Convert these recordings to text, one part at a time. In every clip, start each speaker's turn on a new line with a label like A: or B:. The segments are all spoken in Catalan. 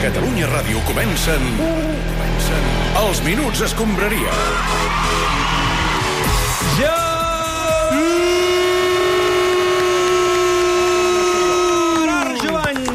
A: Catalunya Ràdio comencen... comencen... Els Minuts Escombraria.
B: Jo! Gerard Jovany!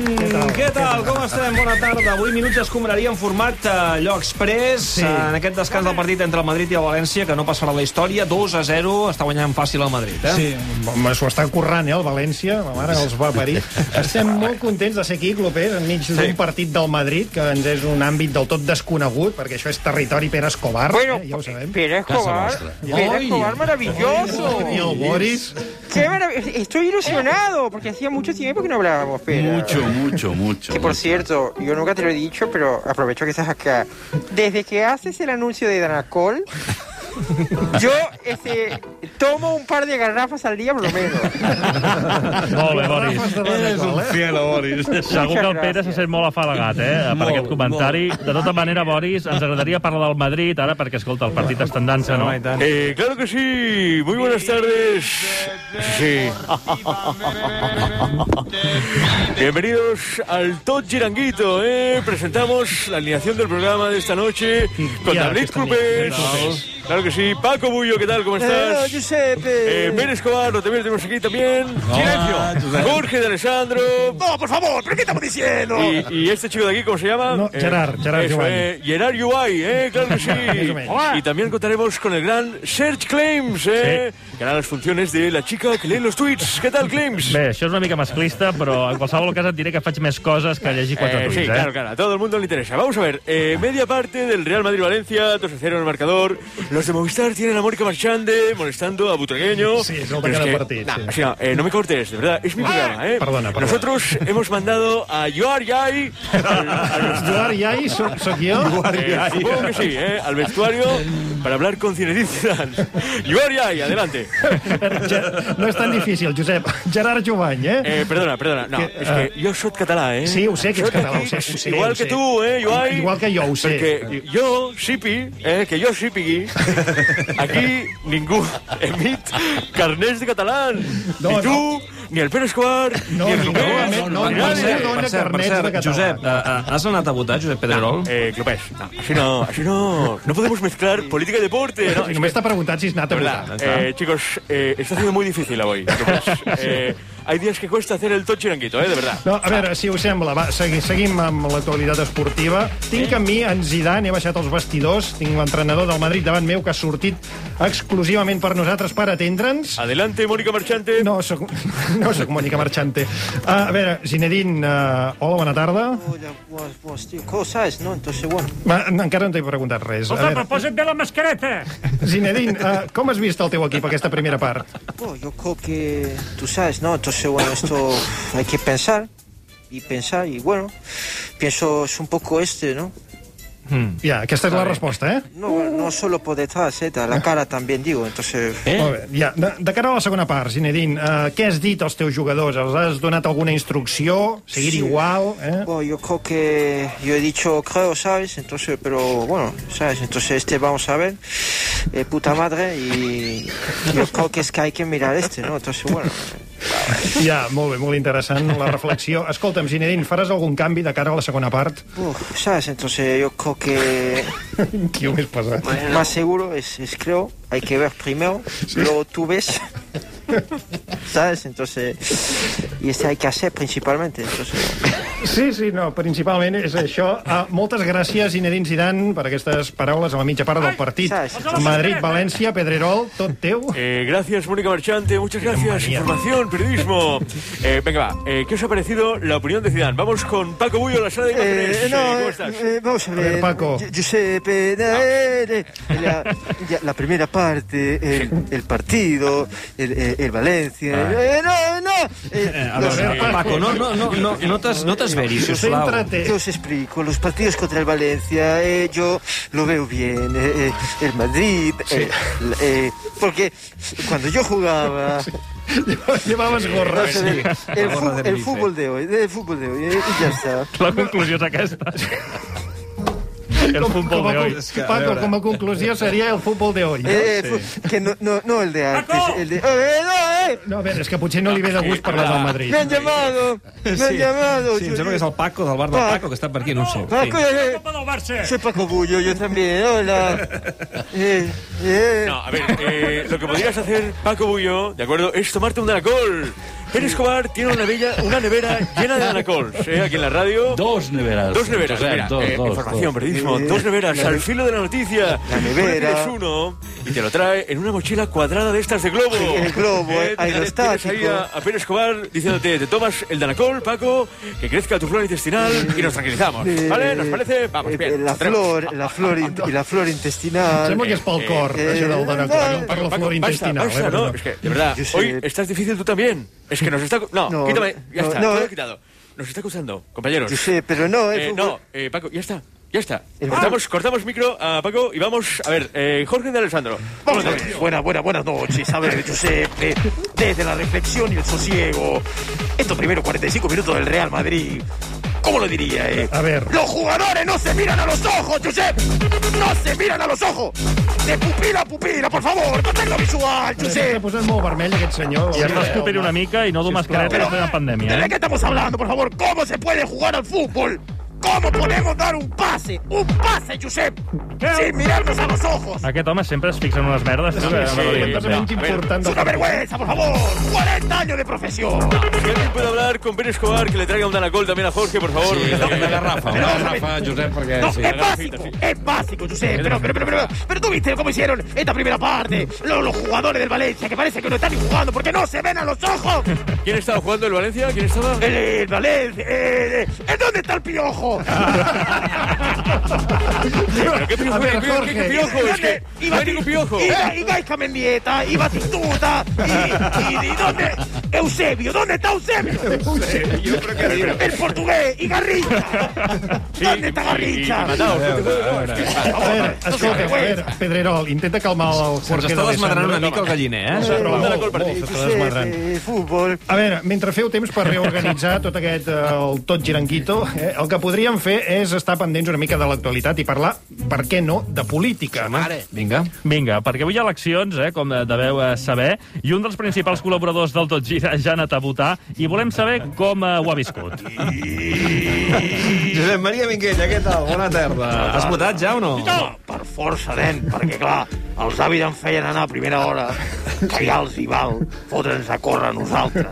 B: Què tal? Com estem? Bona tarda. Avui Minuts Escombraria en format eh, allò express, eh, en aquest descans del partit entre el Madrid i el València, que no passarà a la història. 2 a 0, està guanyant fàcil el Madrid, eh?
C: Sí, home, s'ho està currant, eh, el València, la mare que els va parir. Estem molt contents de ser aquí, Clopés, enmig sí. d'un partit del Madrid, que ens és un àmbit del tot desconegut, perquè això és territori Pere Escobar,
D: Bueno,
C: eh, ja ho sabem.
D: Pere Escobar, Pere Escobar maravilloso.
C: I el Boris...
D: Qué marav- Estoy ilusionado porque hacía mucho tiempo que no hablábamos, Pera.
E: Mucho, mucho, mucho.
D: Que por cierto, yo nunca te lo he dicho, pero aprovecho que estás acá. Desde que haces el anuncio de Danacol, yo este, tomo un par de garrafas al día por lo menos.
F: Molt bé, Boris.
C: Eres un
E: cielo, Boris.
F: Segur que el Pere se sent molt afalagat, eh, per aquest comentari. De tota manera, Boris, ens agradaria parlar del Madrid, ara, perquè, escolta, el partit està en dansa, no?
B: Home, i tant.
E: Eh, claro que sí. Muy buenas tardes. Sí. Bienvenidos al Tot Giranguito, ¿eh? Presentamos la alineación del programa de esta noche con
F: Ya,
E: David
F: que están bien,
E: Clupés. Claro que sí. Paco Bullo, ¿qué tal? ¿Cómo estás? Eh, Ben Escobar, lo también lo tenemos aquí también. Silencio. Jorge de Alessandro. No, por favor, ¿pero qué estamos diciendo? Y, y este chico de aquí, ¿cómo se llama? Eh,
C: No, Gerard, Gerard
E: eso,
C: Yuay.
E: eh, Gerard Yuay, ¿eh? Claro que
C: Más
E: sí.
C: o menos.
E: y también contaremos con el gran Serge Claims, ¿eh? Que hará las funciones de la chica que lee los tweets. ¿Qué tal, Claims?
F: Bé, això és una mica masclista, però en qualsevol cas et diré que faig més coses que llegir quatre
E: Eh,
F: tuits,
E: sí,
F: eh?
E: claro, claro, a todo el mundo le interesa. Vamos a ver, eh, media parte del Real Madrid-Valencia, 2 0 en el marcador. Los de Movistar tienen a Mónica Marchande molestando a Butragueño.
C: Sí, es el
E: Pero
C: que
E: que-
C: partido,
E: nah,
C: sí.
E: o sea, eh, no me cortes, de verdad, es mi programa, ¿eh?
C: Perdona, perdona.
E: Nosotros hemos mandado a Yoar Yai al, al vestuario,
C: Eduard Iai, soc, soc jo.
E: eh, supongo que sí, ¿eh? Al vestuario para hablar con Zinedine Zidane. Yoar Yai, adelante.
C: Ger- No és tan difícil, Josep. Gerard Jovany, eh?
E: Eh, perdona, perdona. No,
C: Que, eh,
E: es que yo soy catalá, ¿eh?
C: Sí, ho sé que ets
E: Soy
C: català,
E: aquí,
C: ho sé, ho sé,
E: Igual
C: ho
E: que
C: sé.
E: tú, ¿eh, Ibai?
C: Igual que jo, ho sé.
E: Perquè jo, Sipi, eh, que jo sípigui, aquí ningú emit carnets de catalans.
C: No,
E: ni tu,
C: no.
E: ni el Pere Escobar,
C: No,
E: ni el
C: ningú
E: Clopés,
C: emet- no,
E: ni
C: ningú
E: nadie.
C: emet- dona carnets de català.
B: Josep, eh, eh, has anat a votar, Josep Pedrerol?
E: Eh, Clopés, no, així no, així no. No podemos mezclar política y deporte. No,
C: Si
E: és
C: només
E: que-
C: t'ha preguntat si has anat a
E: de
C: votar.
E: verdad, eh, chicos, eh, está siendo muy difícil hoy. Clopés. Eh, hay días que cuesta hacer el tochiranguito, eh, de verdad.
C: No, a veure, si us sembla, va, segui, seguim amb l'actualitat esportiva. Tinc a mi en Zidane, he baixat els vestidors, tinc l'entrenador del Madrid davant meu que ha sortit exclusivament per nosaltres per atendre'ns.
E: Adelante, Mónica Marchante.
C: No, soc, no soc Mònica Marchante. Ah, a veure, Zinedine, uh, hola, bona tarda.
D: Cosas, ¿no? Entonces, bueno.
C: Ma, encara no t'he preguntat res. A veure,
F: posa't bé la mascareta!
C: Zinedine, uh, com has vist el teu equip aquesta primera part?
D: Bueno, yo creo que tú sabes, ¿no? Entonces, bueno, esto hay que pensar y pensar y bueno, pienso es un poco este, ¿no?
E: Hmm.
C: Ja, aquesta és la resposta, eh?
D: No, no solo por detrás, ¿eh? la cara también digo, entonces...
C: Eh? Molt bé, ja. De, de cara a la segona part, Zinedine, uh, què has dit als teus jugadors? Els has donat alguna instrucció? Seguir
D: Sí.
C: igual? Eh?
D: Bueno, yo creo que yo he dicho creo, ¿sabes? Entonces, pero bueno, ¿sabes? Entonces este vamos a ver, eh, puta madre, y yo creo que es que hay que mirar este, ¿no? Entonces, bueno,
C: Ja, molt bé, molt interessant la reflexió. Escolta'm, Zinedine, faràs algun canvi de cara a la segona part?
D: uf, ¿sabes? Entonces yo creo que
C: Qui ho més pesat.
D: más seguro es, es creo, hay que ver primero, luego tú ves, ¿sabes? Entonces, y este hay que hacer principalmente,
C: Ah.
D: entonces...
C: Sí, sí, no, principalment és això. Uh, moltes gràcies, Zinedine Zidane, per aquestes paraules a la mitja part del partit.
D: saps?
C: Madrid-València, Pedrerol, tot teu.
E: Eh, gracias, Mónica Marchante. Muchas gracias.
C: manía.
E: Información, periodismo. Eh, venga, va. Eh, ¿Qué os ha parecido la opinión de Zidane? Vamos con Paco Bullo, la sala de imágenes.
D: Eh, no,
E: Eh, ¿Cómo
D: eh,
E: estás?
D: eh, vamos a ver,
C: ver, Paco.
D: Gi- Giuseppe, eh, eh, eh, la, ya, la primera parte, el, el partido, el, eh, el Valencia. eh, no, no. eh,
B: A
D: los-
B: veure, Paco, no, no, no, no, no t'es- no t'esveris, sisplau.
C: Centra't.
D: yo os explico, los partidos contra el Valencia, eh, yo lo veo bien, eh, eh, el Madrid, eh, la- eh, porque cuando yo jugaba,
C: Llevaves gorra.
D: vamos a ver, el, fu- el fútbol de hoy, el fútbol de hoy, eh, y ya está.
F: La conclusió és aquesta. El futbol
C: Com a
F: de hoy.
C: con- Paco, com a conclusió seria el futbol de hoy.
D: Eh, fu- que no, no, no el de antes, el de... ¡Eh, no, eh!
G: Josep.
C: No, a veure, és que potser no li ve de gust parlar del Madrid.
G: Me han llamado, me han llamado.
B: Ah. Sí, em sembla que és el Paco, del bar del Paco, que està per aquí, no ho sé.
G: Paco,
B: Sí.
G: eh,
F: Copa del Barça!
G: soy Paco Bullo, yo también, hola. Eh, eh.
E: No, a ver, eh, lo que podrías hacer, Paco Bullo, ¿de acuerdo? Es tomarte un Danacol. Pérez Escobar tiene una, bella, una nevera llena de Danacols, ¿eh? Aquí en la radio.
H: Dos neveras.
E: Dos neveras,
H: Josep,
E: mira,
H: dos,
E: eh,
H: dos,
E: información,
H: dos.
E: periodismo, dos neveras al filo de la noticia.
G: La nevera.
E: Tú le pides uno y te lo trae en una mochila cuadrada de estas de globo.
G: el globo, eh, aerostático.
E: tienes ahí a, a Pérez Escobar diciéndote, te tomas el Danacol, Paco, que crezca tu flora intestinal y nos tranquilizamos.
G: Eh,
E: ¿Vale? ¿Nos parece?
G: eh,
E: Vamos, bien.
G: La
E: nos atrevemos.
G: flor, la flor in- y la flor intestinal.
C: Sembla que és pel cor,
G: eh,
C: això del Danacol,
G: eh,
C: per la flor
E: basta,
C: intestinal.
E: basta,
C: eh,
E: no,
C: perdó.
E: es que, de verdad,
G: Yo sé.
E: hoy estás difícil tú también. Es que nos está... co- No,
G: No,
E: quítame, ya
G: no,
E: está,
G: no,
E: todo
G: eh.
E: quitado. Nos está acusando, compañeros.
G: Yo sé, pero no, eh,
E: Eh,
G: fútbol-
E: no, eh, Paco, ya está. Ya está.
G: El-
E: Cortamos, cortamos micro a Paco y vamos a ver, eh, Jorge de Alessandro.
I: Vamos a ver. Buenas, buenas, buenas noches. A ver, Giuseppe, desde la reflexión y el sosiego, estos primeros 45 minutos del Real Madrid, ¿cómo lo diría, eh?
C: A ver.
I: Los jugadores no se miran a los ojos, Giuseppe. No se miran a los ojos. De pupila a pupila, por favor. Contacto visual,
C: S'ha
I: Giuseppe.
C: posat molt vermell, aquest senyor.
F: I es va escopir una mica i no dur mascareta en la pandèmia,
I: ¿De
F: eh?
I: qué estamos hablando, por favor? ¿Cómo se puede jugar al fútbol? ¿Cómo podemos dar un pase? ¡Un pase, Giuseppe! Sin mirarnos a los ojos.
F: Aquest home sempre es fixa en unes merdes. tu, que
E: sí,
F: no me lo diguis.
C: Completament important
I: ¡Es
C: del
I: una vergüenza, por favor! ¡40 años de profesión!
E: Si alguien puede hablar con Pérez Escobar, que le traiga un Danacol también a Jorge, por favor.
H: Sí,
E: porque-
H: la garrafa,
I: Pero vamos
H: la
I: a ver.
H: garrafa, Josep, perquè...
I: No,
H: sí.
E: eh,
I: es básico, es básico, Josep. Pero, pero, pero, pero, pero tú viste cómo hicieron esta primera parte. Los, los jugadores del Valencia, que parece que no están ni jugando porque no se ven a los ojos.
E: ¿Quién estaba jugando el Valencia? ¿Quién estaba?
I: El, el Valencia, eh, eh, ¿dónde está el piojo?
E: Pero qué piojo,
C: A ver,
E: qué piojo, qué
C: Jorge.
E: piojo, es que
I: Y
E: no hay
I: Bati-
E: ningún piojo.
I: Y, Ga- y Gaisca Mendieta, y Batistuta, y, y, y ¿dónde? Eusebio, ¿dónde está Eusebio? El portugués, y Garrincha. ¿Dónde está Garrincha?
E: Mataos, no te juegues.
C: A veure, escolta, a veure, Pedrerol, intenta calmar el
B: Se'ns
C: Jorge
B: està desmadrant
C: d'Alessandro.
B: una mica el galliner, eh?
C: Però molt,
E: Danacol per
C: molt,
E: dir.
C: s'està
G: Josep,
C: desmadrant.
G: eh, fútbol.
C: A veure, mentre feu temps per reorganitzar tot aquest, eh, el tot giranguito, eh, el que podríem fer és estar pendents una mica de l'actualitat i parlar, per què no, de política.
B: Vinga.
F: Vinga, perquè avui hi ha eleccions, eh, com deveu eh, saber, i un dels principals col·laboradors del Tot Gira ja ha anat a votar, i volem saber com eh, ho ha viscut.
B: Josep Maria Minguella, què tal? Bona tarda.
C: Ah,
B: Has votat ja o no?
I: No, Eh, per força, nen, perquè, clar, els avis em feien anar a primera hora, que ja els hi val fotre'ns a córrer a nosaltres.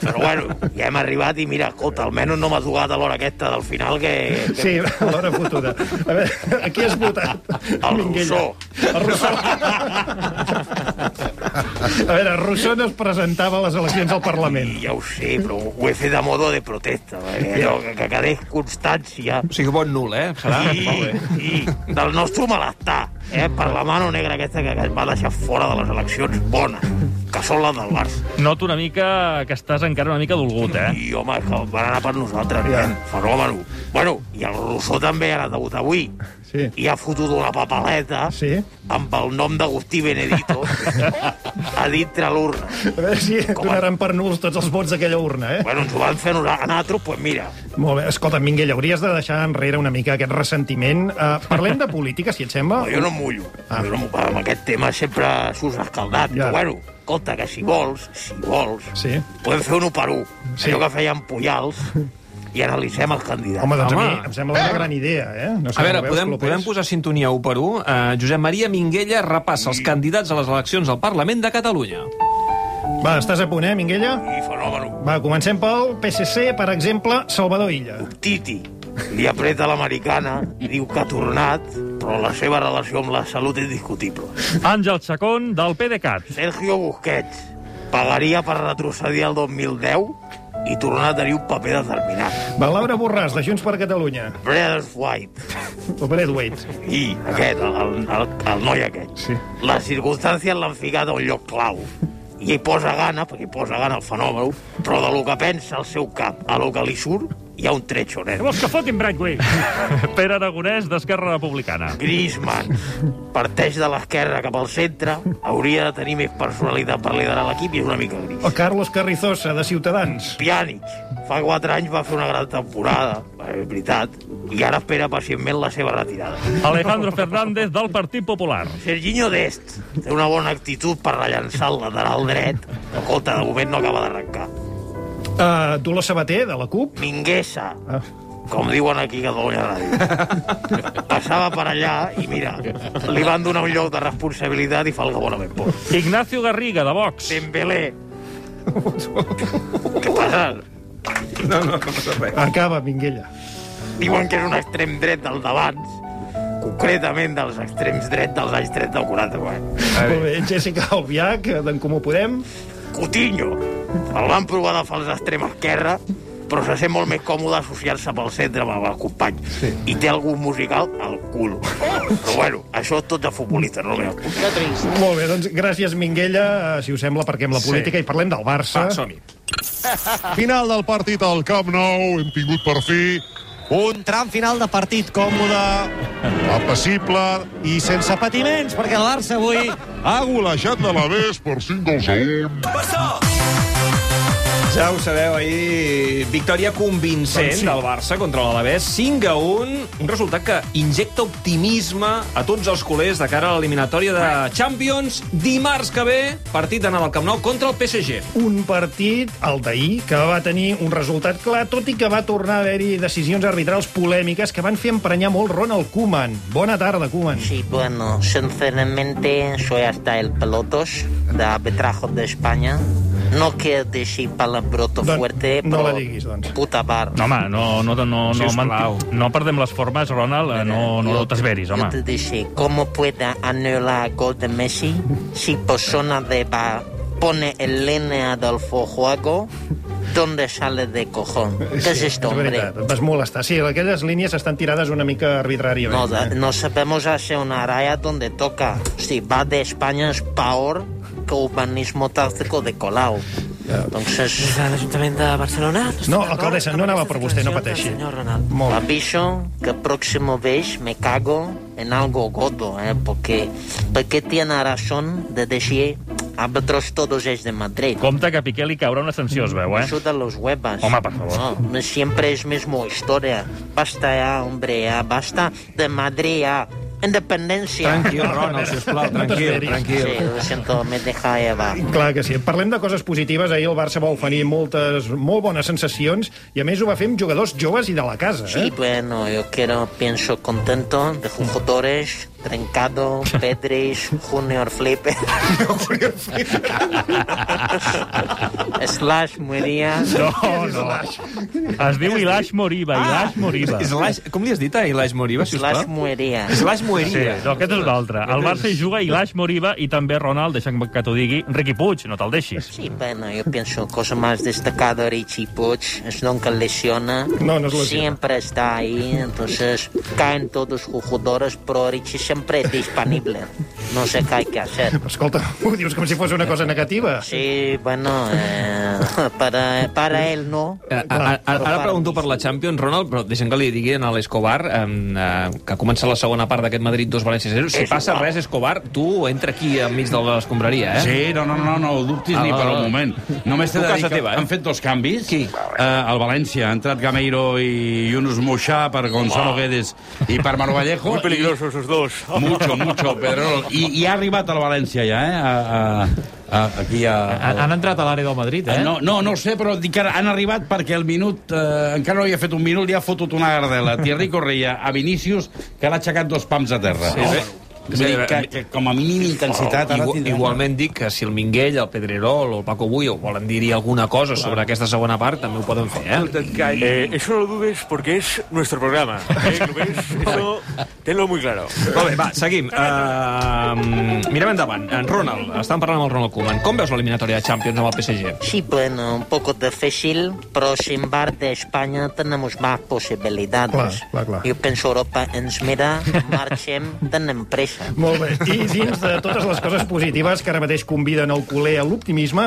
I: Però, bueno, ja hem arribat i, mira, escolta, almenys no m'ha jugat a l'hora aquesta del final, que... que...
C: Sí, a l'hora fotuda. A veure, a qui has votat?
I: El
C: Minguella.
I: Rousseau.
C: El Rousseau. A veure, Rousseau no es presentava a les eleccions al Parlament.
I: I ja ho sé, però ho he fet a modo de protesta, perquè allò que, que quedés constància
B: O sigui, vot nul, eh? Serà?
I: i, i del nostre malestar, eh,
F: Mm.
I: per la mano negra aquesta que, que ens va deixar fora de les eleccions bones, que són les del Barça.
F: Noto una mica que estàs encara una mica dolgut, eh?
I: I, home, que van anar per nosaltres, ja. fenòmeno. Bueno, i el Rousseau també ha anat a votar avui.
C: Sí.
I: I ha fotut una papeleta
C: Sí.
I: amb el nom d'Agustí Benedito a dintre l'urna.
C: A veure si
I: Com a-
C: donaran per nuls tots els vots d'aquella urna, eh?
I: Bueno, ens ho van fer a nosa- a nosaltres, doncs pues mira,
C: Molt bé, escolta, Minguella, hauries de deixar enrere una mica aquest ressentiment. Uh, parlem de política, si et sembla.
I: no, jo no em mullo.
C: Ah.
I: Jo no, em- amb aquest tema sempre s'us escaldat.
C: Ja.
I: Ja. Però bueno, compte que si vols, si vols,
C: Sí.
I: podem fer un 1 per 1.
C: Sí.
I: Sí. Allò que feien Puyals i analitzem els candidats.
C: Home, doncs
B: Home.
C: a mi em sembla una gran idea, eh? No sé
B: A veure,
C: com ho veus,
B: podem,
C: Clopés.
B: podem posar sintonia 1 per 1. Uh, Josep Maria Minguella repassa els candidats a les eleccions al Parlament de Catalunya.
C: Va, estàs a punt, eh, Minguella?
I: I fenòmeno.
C: Va, comencem pel PSC, per exemple, Salvador Illa.
I: Titi. Li apreta l'americana, diu que ha tornat, però la seva relació amb la salut és discutible.
F: Àngel Chacón, del PDeCAT.
I: Sergio Busquets pagaria per retrocedir al 2010 i tornar a tenir un paper determinat.
C: Va, Laura Borràs, de Junts per Catalunya.
I: Brad White.
C: O Braithwaite.
I: I aquest, el, el, el noi aquest.
C: Sí.
I: Les circumstàncies l'han ficat a un lloc clau. I hi posa gana, perquè hi posa gana el fenomen, però de lo que pensa el seu cap a lo que li surt, hi ha un tretxo, nen.
F: Vols que fotin Bradway? Pere Aragonès, d'Esquerra Republicana.
I: Griezmann parteix de l'esquerra cap al centre, hauria de tenir més personalitat per liderar l'equip i és una mica
C: O
I: gris.
C: Carlos Carrizosa, de Ciutadans.
I: Pjanic, fa 4 anys va fer una gran temporada, eh, és veritat, i ara espera pacientment la seva retirada.
F: Alejandro Fernández, del Partit Popular.
I: Serginho Dest té una bona actitud per rellançar el lateral dret. Escolta, de moment no acaba d'arrencar.
C: Uh, Dolors Sabater, de la CUP. Ah,
I: Minguesa, com diuen aquí a Catalunya Ràdio. Passava per allà i mira, li van donar un lloc de responsabilitat i fa el que bona ben pot.
F: Ignacio Garriga, de Vox.
I: Dembélé. Què passa?
C: Acaba, Minguella.
I: Diuen que era un extrem dret del d'abans, concretament dels extrems dret dels anys 30 o 40. Bueno.
C: Molt bé, Jessica Albiach, d'en Comú Podem.
I: Coutinho, el van provar de fals extrem esquerre, però se sent molt més còmode associar-se pel centre amb el company. Sí. I té algun musical al cul. Però bueno, això és tot de futbolista, no meu.
C: Molt bé, doncs gràcies, Minguella, eh, si us sembla, perquè amb la política i parlem del Barça.
B: Va, som-hi.
H: Final del partit al Camp Nou, hem tingut per fi un tram final de partit còmode, apassible i sense patiments, perquè el Barça avui ha golejat de la Ves per 5 gols a 1.
B: Ja ho sabeu, ahir victòria convincent
C: Doncs sí.
B: del Barça contra l'Alavés, 5 a 1, un resultat que injecta optimisme a tots els culers de cara a l'eliminatòria de Champions. Dimarts que ve, partit anant al Camp Nou contra el PSG.
C: Un partit, el d'ahir, que va tenir un resultat clar, tot i que va tornar a haver-hi decisions arbitrals polèmiques que van fer emprenyar molt Ronald Koeman. Bona tarda, Koeman.
G: Sí, bueno, sinceramente soy hasta el pelotos de arbitraje de España. No quiero decir palabroto
C: Don-
G: fuerte,
C: no
G: pero
C: la diguis, doncs.
G: puta bar.
F: No, home, no, no, no, no, no,
B: Sisplau.
F: manti- no perdem les formes, Ronald, eh, no, no
G: Yo-
F: t'esveris,
G: Yo te
F: home.
G: dije, ¿cómo puede anular gol de Messi si persona de bar pone en línea del juego donde sale de cojón? ¿Qué es esto,
C: és
G: hombre?
C: veritat, et vas molestar. Sí, aquelles línies estan tirades una mica arbitràriament.
G: No, da-
C: eh?
G: no sabemos hacer una raya donde toca. Si va de España es peor que urbanismo táctico de Colau. Entonces,
J: a l'Ajuntament de Barcelona.
C: No, alcaldessa, no anava per vostè, no pateixi. Molt bé.
G: aviso que próximo vez me cago en algo gordo, ¿eh? porque, porque tiene razón de decir árbitros todos es de Madrid.
F: Compte que a Piqué li caurà una sanció, es veu, eh?
G: Eso de los huevas.
F: Home, per favor.
G: No, siempre es mismo historia. Basta ya, hombre, ya. Basta de Madrid ya. Independencia.
B: Tranquil, Ronald, sisplau, tranquil,
C: t'esveris.
B: tranquil.
G: Sí, lo siento, me deja llevar.
C: Clar que sí. Parlem de coses positives. Ahir el Barça va oferir moltes, molt bones sensacions i, a més, ho va fer amb jugadors joves i de la casa.
G: Sí,
C: Eh?
G: bueno, yo quiero, pienso contento de jugadores, Trencado, Pedris, Junior Flipper. Slash Muría.
F: No, no. Es diu Ilash Moriba, Ilash Moriba.
B: Slash, com li has dit a Ah, Ilaix Moriba,
G: Slash
B: sisplau?
G: Muría.
B: Slash
F: Sí,
B: Mueria.
F: no, aquest és l'altre. Al Barça hi juga Ilash Moriba i també Ronald, deixa'm que t'ho digui, Riqui Puig, no te'l deixis.
G: Sí, bueno, yo pienso cosa más destacada Richie Puch es nunca lesiona.
C: No, no es lesiona.
G: Siempre está ahí, entonces caen todos los jugadores, pero Richie siempre es disponible. No sé qué hay que hacer.
C: Escolta, ho dius com si fos una cosa negativa.
G: Sí, bueno, eh, para, para él no.
B: Eh, a- a- Ara pregunto per la Champions, Ronald, però deixem que li digui a l'Escobar eh, eh, que comença la segona part d'aquest Madrid 2 València 0. Si
I: És
B: passa
I: igual.
B: res, Escobar, tu entra aquí enmig de l'escombraria, eh?
K: Sí, no, no, no, no ho dubtis ni
B: Ah,
K: per
B: ah,
K: un
B: ah.
K: moment. Només t'he
B: Tu
K: de
B: casa
K: dir que
B: teva, eh?
K: han fet dos canvis.
B: Qui?
K: Eh, al València ha entrat Gameiro i Yunus Moixà per Gonzalo
E: Oh.
K: Guedes i per Manu Vallejo.
E: Muy peligrosos esos dos.
K: I- Mucho, mucho, Pedrerol. I, I ha arribat al València ja, eh? A, a, a, aquí a... a Ah,
L: Han entrat a l'àrea del Madrid, eh?
K: No, no, no ho sé, però dic que han arribat perquè el minut, eh, encara no havia fet un minut, li ha fotut una gardela. Thierry Correia a Vinícius, que l'ha aixecat dos pams a terra. Sí, Vull dir que, que com a mínim intensitat... ara
B: Igu-
K: tindran.
B: Igualment dic que si el Minguell, el Pedrerol o el Paco Bullo volen dir-hi alguna cosa sobre aquesta segona part, també ho poden fer, eh?
E: Eh, eso no lo dudes porque es nuestro programa. ¿eh? ¿Lo ves? Eso, tenlo muy claro.
B: Molt bé, va, seguim. Uh, mirem endavant. En Ronald, estan parlant amb el Ronald Koeman. Com veus l'eliminatòria de Champions amb el PSG?
G: Sí, bueno, un poco difícil, pero sin bar de España tenemos más posibilidades.
C: Clar, clar, clar.
G: Yo pienso Europa ens mira, marxem, tenem pressa.
C: Molt bé. I dins de totes les coses positives que ara mateix conviden el culer a l'optimisme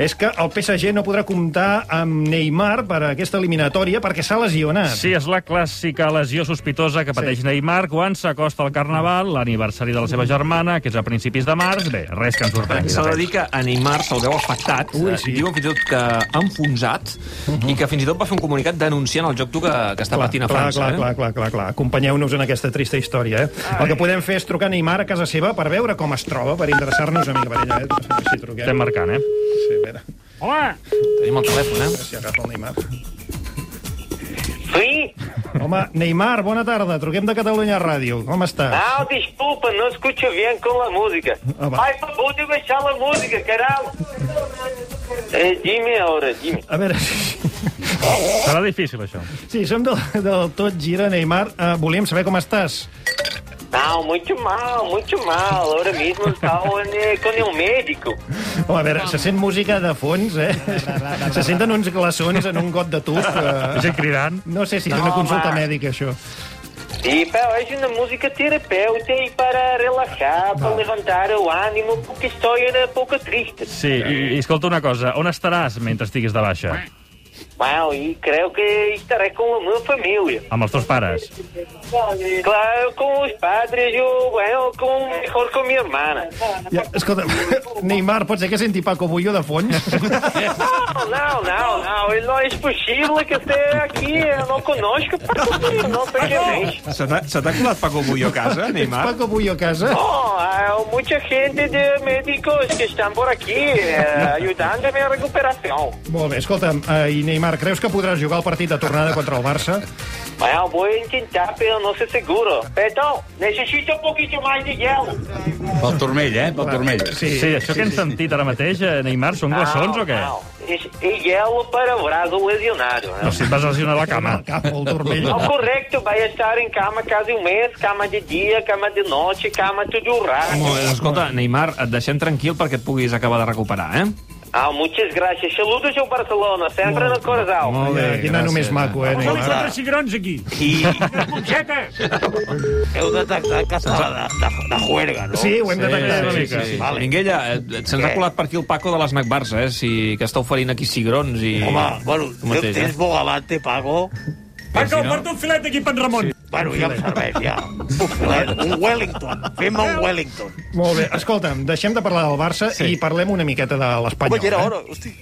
C: és que el PSG no podrà comptar amb Neymar per a aquesta eliminatòria perquè s'ha lesionat.
F: Sí, és la clàssica lesió sospitosa que pateix sí. Neymar quan s'acosta al Carnaval, l'aniversari de la seva germana, que és a principis de març. Bé, res que ens sorprengui.
B: S'ha de dir que a Neymar se'l veu afectat. Ui, sí. Diuen fins i tot que ha enfonsat i que fins i tot va fer un comunicat denunciant el joc dur que, que està patint a
C: clar,
B: França.
C: clar, clar,
B: eh?
C: clar, clar, clar. Acompanyeu-nos en aquesta trista història. Eh? El que podem fer és trucar a Neymar a casa seva per veure com es troba, per interessar-nos a mi, Varella. Eh? Així truquem.
F: Estem marcant, eh?
C: Sí, a veure, a
F: Hola!
B: Tenim el telèfon, eh?
C: veure si agafa el Neymar.
J: Sí?
C: Home, Neymar, bona tarda. Truquem de Catalunya Ràdio. Com estàs?
J: Ah, disculpa, no escucho bien con la música.
C: Ah, va.
J: Ai, por favor, de baixar la música, caralho. Eh, dime ahora, dime.
C: A veure, sí,
F: Serà difícil, això.
C: sí som del, del Tot Gira, Neymar. Uh, volíem saber com estàs.
J: Não, Ah, muito mal, muito mal. Ahora mismo estaba eh, con el médico.
C: Home, a veure, se sent música de fons, eh? Se senten uns glaçons en un got de tub.
F: La
C: Eh?
F: gent cridant.
C: No sé si és una
J: No,
C: consulta
J: home.
C: mèdica, això.
J: E para hoje na música terapeuta e para relaxar, para levantar o ânimo, porque estou era pouco triste.
F: Sí, i, i escolta una cosa, on estaràs mentre estiguis de baixa?
J: Uau, e creio que estarei com a minha família.
F: Amb els teus pares?
J: Claro, com os padres, eu, eu com, melhor com minha irmã.
C: Ja, escolta, Neymar, pot ser que senti Paco Bullo de fons?
J: Não, não, não. Ele não é possível que esteja aqui é não conosco, porque não sei que vem.
B: Se t'ha se t'ha colat Paco Bullo a casa, Neymar?
C: Paco Bullo a casa?
J: Bom, há é muita gente de médicos que estão por aqui eh, ajudando a minha recuperação.
C: Molt bé, escolta'm, eh, i Neymar, creus que podràs jugar el partit de tornada contra el Barça?
J: Mas eu vou tentar pelo nosso seguro. Então, necessito um pouquinho mais de gelo.
K: Pel turmell, eh? Pel turmell.
F: Sí, sí això sí, que hem sí. sentit ara mateix, eh, Neymar, són glaçons o què?
J: Não, E gelo para o braço lesionado.
F: No,
J: Né?
F: si et vas lesionar la
C: Amb
F: cama.
C: el cap, el turmell.
J: Não, correto, vai estar em cama quase um mês, cama de dia, cama de noite, cama tudo raro.
B: Molt bé, doncs escolta, Neymar, et deixem tranquil perquè et puguis acabar de recuperar, eh?
J: Ah, muchas gracias. Saludos ao Barcelona, sempre no coração.
B: Molt bé,
C: Quina
B: gràcies.
C: només maco, eh, Neymar?
F: cigrons aquí.
I: I
J: Eu detectat que
I: de, de, de juerga, no?
C: Sí, ho hem
F: sí,
C: detectat. Sí, sí,
F: sí.
C: sí.
B: Vale. Minguella, eh, eh, se'ns ha
I: Què?
B: colat per aquí el Paco de les Bars, eh? Si, que està oferint aquí cigrons i...
I: Home, bueno,
B: Tu
I: jo
B: mateix, eh?
I: tens bogavante, Paco.
F: Paco, porta un filet aquí per Ramon. Sí.
I: Bueno, ja em serveix, ja. Un Wellington. Fem-me un Wellington.
C: Molt bé, escolta'm, deixem de parlar del Barça sí. i parlem una miqueta de l'Espanyol.
I: Home, ja era
C: eh?
I: hora, hosti.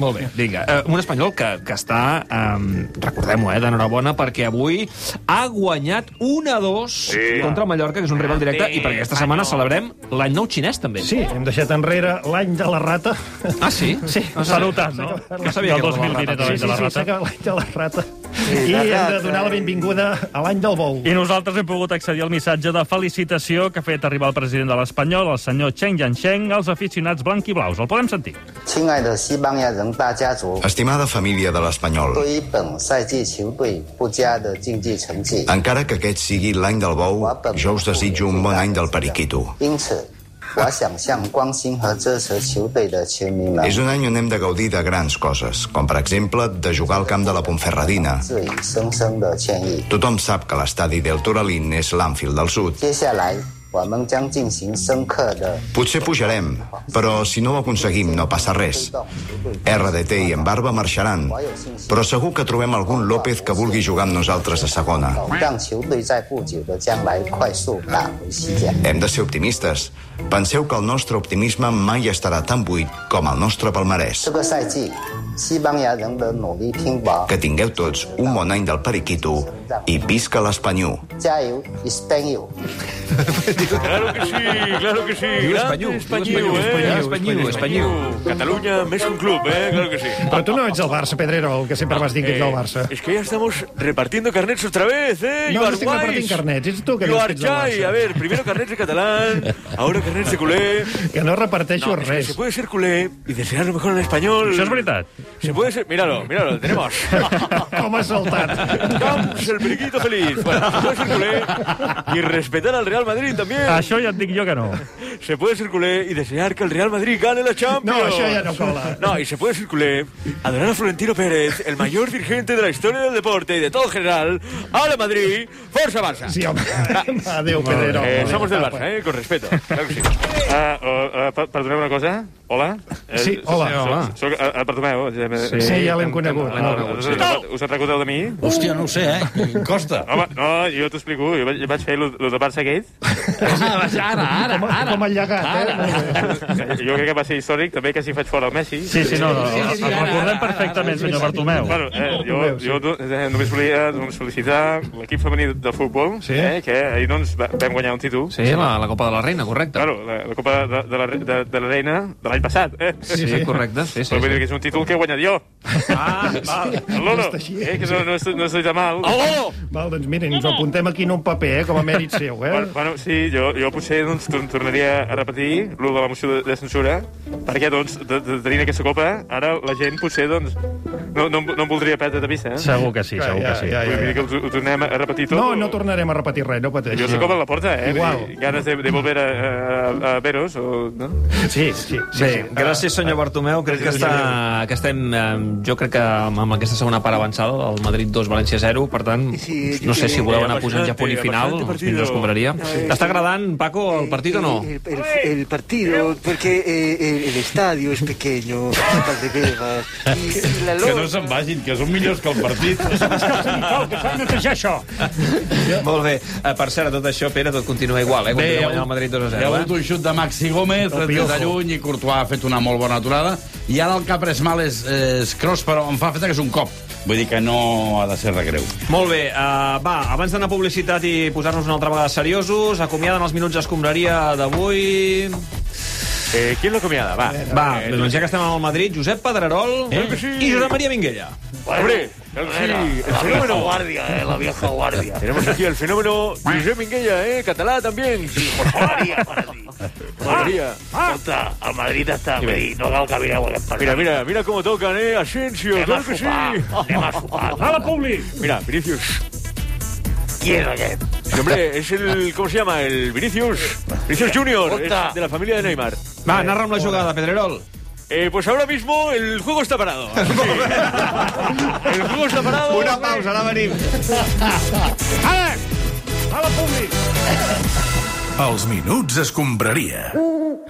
B: Molt bé, vinga. Uh, un espanyol que, que està, um, recordem-ho, eh, d'enhorabona, perquè avui ha guanyat 1-2 sí. contra el Mallorca, que és un rival directe, i perquè aquesta setmana celebrem l'any nou xinès, també.
C: Sí, hem deixat enrere l'any de la rata.
B: Ah, sí?
C: Sí.
B: No
F: S'ha
B: sabia-
F: notat, no?
B: No sabia
F: Del
B: que era la
F: 2020
B: rata.
F: de
C: Sí,
F: l'any
C: sí,
F: de la
C: sí, s'ha
F: rata.
C: acabat l'any de la rata. I
I: la
C: hem de
I: rata.
C: donar la benvinguda a l'any del bou.
F: I nosaltres hem pogut accedir al missatge de felicitació que ha fet arribar el president de l'Espanyol, el senyor Cheng Yancheng, als aficionats blanquiblaus. El podem sentir.
L: 亲爱的西班牙人大家族，
M: Estimada família de l'Espanyol,
L: 对于本赛季球队不佳的竞技成绩，
M: encara que aquest sigui l'any del bou, jo us desitjo un bon any del periquito.
L: 因此，我想向关心和支持球队的球迷们
M: És un any on hem de gaudir de grans coses, com per exemple de jugar al camp de la Ponferradina.
L: 致以深深的歉意。
M: Tothom sap que l'estadi del Toralín és l'Anfield del Sud.
L: 接下来，我们将进行深刻的
M: Potser pujarem, però si no ho aconseguim no passa
L: 推
M: res.
L: 动球队
M: RDT i en Barba marxaran, però segur que trobem algun López que vulgui jugar amb nosaltres a segona.
L: 让球队在不久的将来快速打回西甲。
M: Hem de ser optimistes. Penseu que el nostre optimisme mai estarà tan buit com el nostre palmarès.
L: 这个赛季，西班牙人的努力拼搏，
M: Que tingueu tots un bon any del Periquito i visca l'Espanyol.
L: 加油 s p a n o l
E: Claro que sí, claro que sí.
B: Diu
E: Gran
B: espanyiu,
E: espanyiu,
B: espanyiu,
E: eh?
B: espanyiu, espanyiu.
E: Cataluña més que un club, eh? Claro que sí.
C: Però tu no ets el Barça, Pedrero, el que sempre vas dir que ets del
E: Eh,
C: Barça.
E: Es que ya estamos repartiendo carnets otra vez, ¿eh?
C: No,
E: You
C: no
E: are
C: estoy repartiendo
E: wise.
C: carnets, es tú que
E: You
C: dices
E: are
C: que es ¿eh? del
E: shy.
C: Barça.
E: A ver, primero carnets de catalán, ahora carnets de culé.
C: Que no reparteixo
E: Es que
C: res.
E: se puede ser culé y desear lo mejor en español.
F: Això és veritat.
E: Se puede ser. Míralo, míralo, lo tenemos.
C: Com ha saltat.
E: Camps, el periquito feliz. Bueno, se puede ser culé y respetar al Real Madrid también.
F: Això ja et dic jo que no.
E: Se puede ser culé y desear que el Real Madrid gane la Champions.
C: No, això ja no cola.
E: No, y se puede ser culé, adorar a Florentino Pérez, el mayor dirigente de la historia del deporte y de todo en general. ¡Ale Madrid! ¡Forza Barça!
C: Sí, home. Adéu, Pedrero.
E: Eh, somos del Barça, eh, con respeto. Claro que sí.
N: Ah, oh, eh, per- perdoneu una cosa? Hola? Eh,
C: Sí, hola.
N: soc-
C: Sí, hola.
N: Soc, eh, eh, perdoneu.
C: Sí, sí, ja l'hem conegut.
N: No, no, us, eh, us recordeu de mi?
K: Hòstia, no ho sé, eh? Em Costa.
N: Home, no, jo t'ho explico. Jo vaig, jo vaig fer el de Barça Gate.
K: Ara, ara,
C: Com,
K: ara.
C: com el llegat, eh?
N: Jo crec que va ser històric. També que si faig fora el Messi.
F: Sí, sí, no, no. El recordem perfectament, senyor Bartomeu.
N: Bueno, eh, jo, jo no- eh, només volia doncs, felicitar l'equip femení del futbol,
B: Sí.
N: eh, que ahir doncs, va- vam guanyar un títol.
B: Sí, la, la Copa de la Reina, correcte.
N: Claro, la, la Copa de, de, la, re- de, de la Reina de l'any passat. Eh?
B: Sí, sí, correcte. Sí, sí,
N: Però vull dir
B: sí.
N: que és un títol que he guanyat jo.
B: Ah, val.
N: El Lolo, eh, que no, no, estoy, no estoy tan mal.
B: Oh!
C: Val, doncs mira, ens ho apuntem aquí en un paper, eh, com a mèrit seu, eh?
N: Bueno, bueno, sí, jo, jo potser doncs, tor- tornaria a repetir lo de la moció de, de censura, perquè doncs, de, de, tenint aquesta copa, ara la gent potser doncs, no, no, em- no em voldria perdre de vista. Eh?
F: Segur que sí, segur que sí.
C: Ja,
N: Vull
C: ja,
N: dir
C: ja.
N: que ho, ho tornem a repetir tot.
C: No,
N: o-
C: no tornarem a repetir res, no pateixi.
N: Jo sé com a la porta, eh?
C: Igual.
N: Vull dir, Ganes de, de volver a, a, a veros, o... No?
C: Sí, sí. sí,
B: Bé,
C: sí.
B: gràcies, senyor Bartomeu. Crec que, està, que estem, eh, jo crec que amb amb aquesta segona part avançada del Madrid 2, València 0, per tant, no sé si voleu anar posant ja punt i final, els millor escombraria. T'està agradant, Paco, el partit o no?
G: El, el- el partido, porque eh, el, el estadio es pequeño, tapas de velas. Y, y la
K: Que no
G: lona.
K: se'n vagin, que són millors que el partit.
C: netejar això.
B: Molt bé. Eh, Per cert, a tot això, Pere, tot continua igual, eh? Continua guanyant el Madrid 2
K: Hi ha
B: 0,
K: hagut
B: eh?
K: un xut de Maxi Gómez,
C: El
K: des de
C: Piojo.
K: lluny, i Courtois ha fet una molt bona aturada. I ara el que ha pres mal és, és cross, però em fa feta que és un cop. Vull dir que no ha de ser de greu.
B: Molt bé, uh, va, abans d'anar a publicitat i posar-nos una altra vegada seriosos, acomiaden els minuts d'escombraria d'avui...
E: Eh, ¿Quién lo acomiada? Va.
B: Va, doncs ja que estem al Madrid, Josep Pedrerol eh? i Josep Maria Minguella.
E: Hombre, claro que sí, el fenómeno.
I: guardia, eh, la vieja guardia. Ah.
E: Tenemos aquí el fenómeno Josep Minguella, eh, català també.
I: Guardia para ti.
E: Maria.
I: Escolta, el Ah. Madrid està... Vull dir, no cal que mireu aquest partit.
E: Mira, mira, mira cómo tocan, eh, Asensio,
I: Anem a
E: claro que sí.
I: sopar, anem a sopar.
E: Mira, Vinicius.
I: Qui és aquest?
E: Sí, Hombre, es el, ¿cómo se llama? El Vinicius. Vinicius Junior,
I: Ota.
E: es de la familia de Neymar.
B: Va, narra amb la jugada, Pedrerol.
E: Eh, pues ahora mismo el juego está parado. Sí. El juego está parado.
M: Una pausa, ara venim.
C: Ara! A la públic!
O: Els minuts es compraria.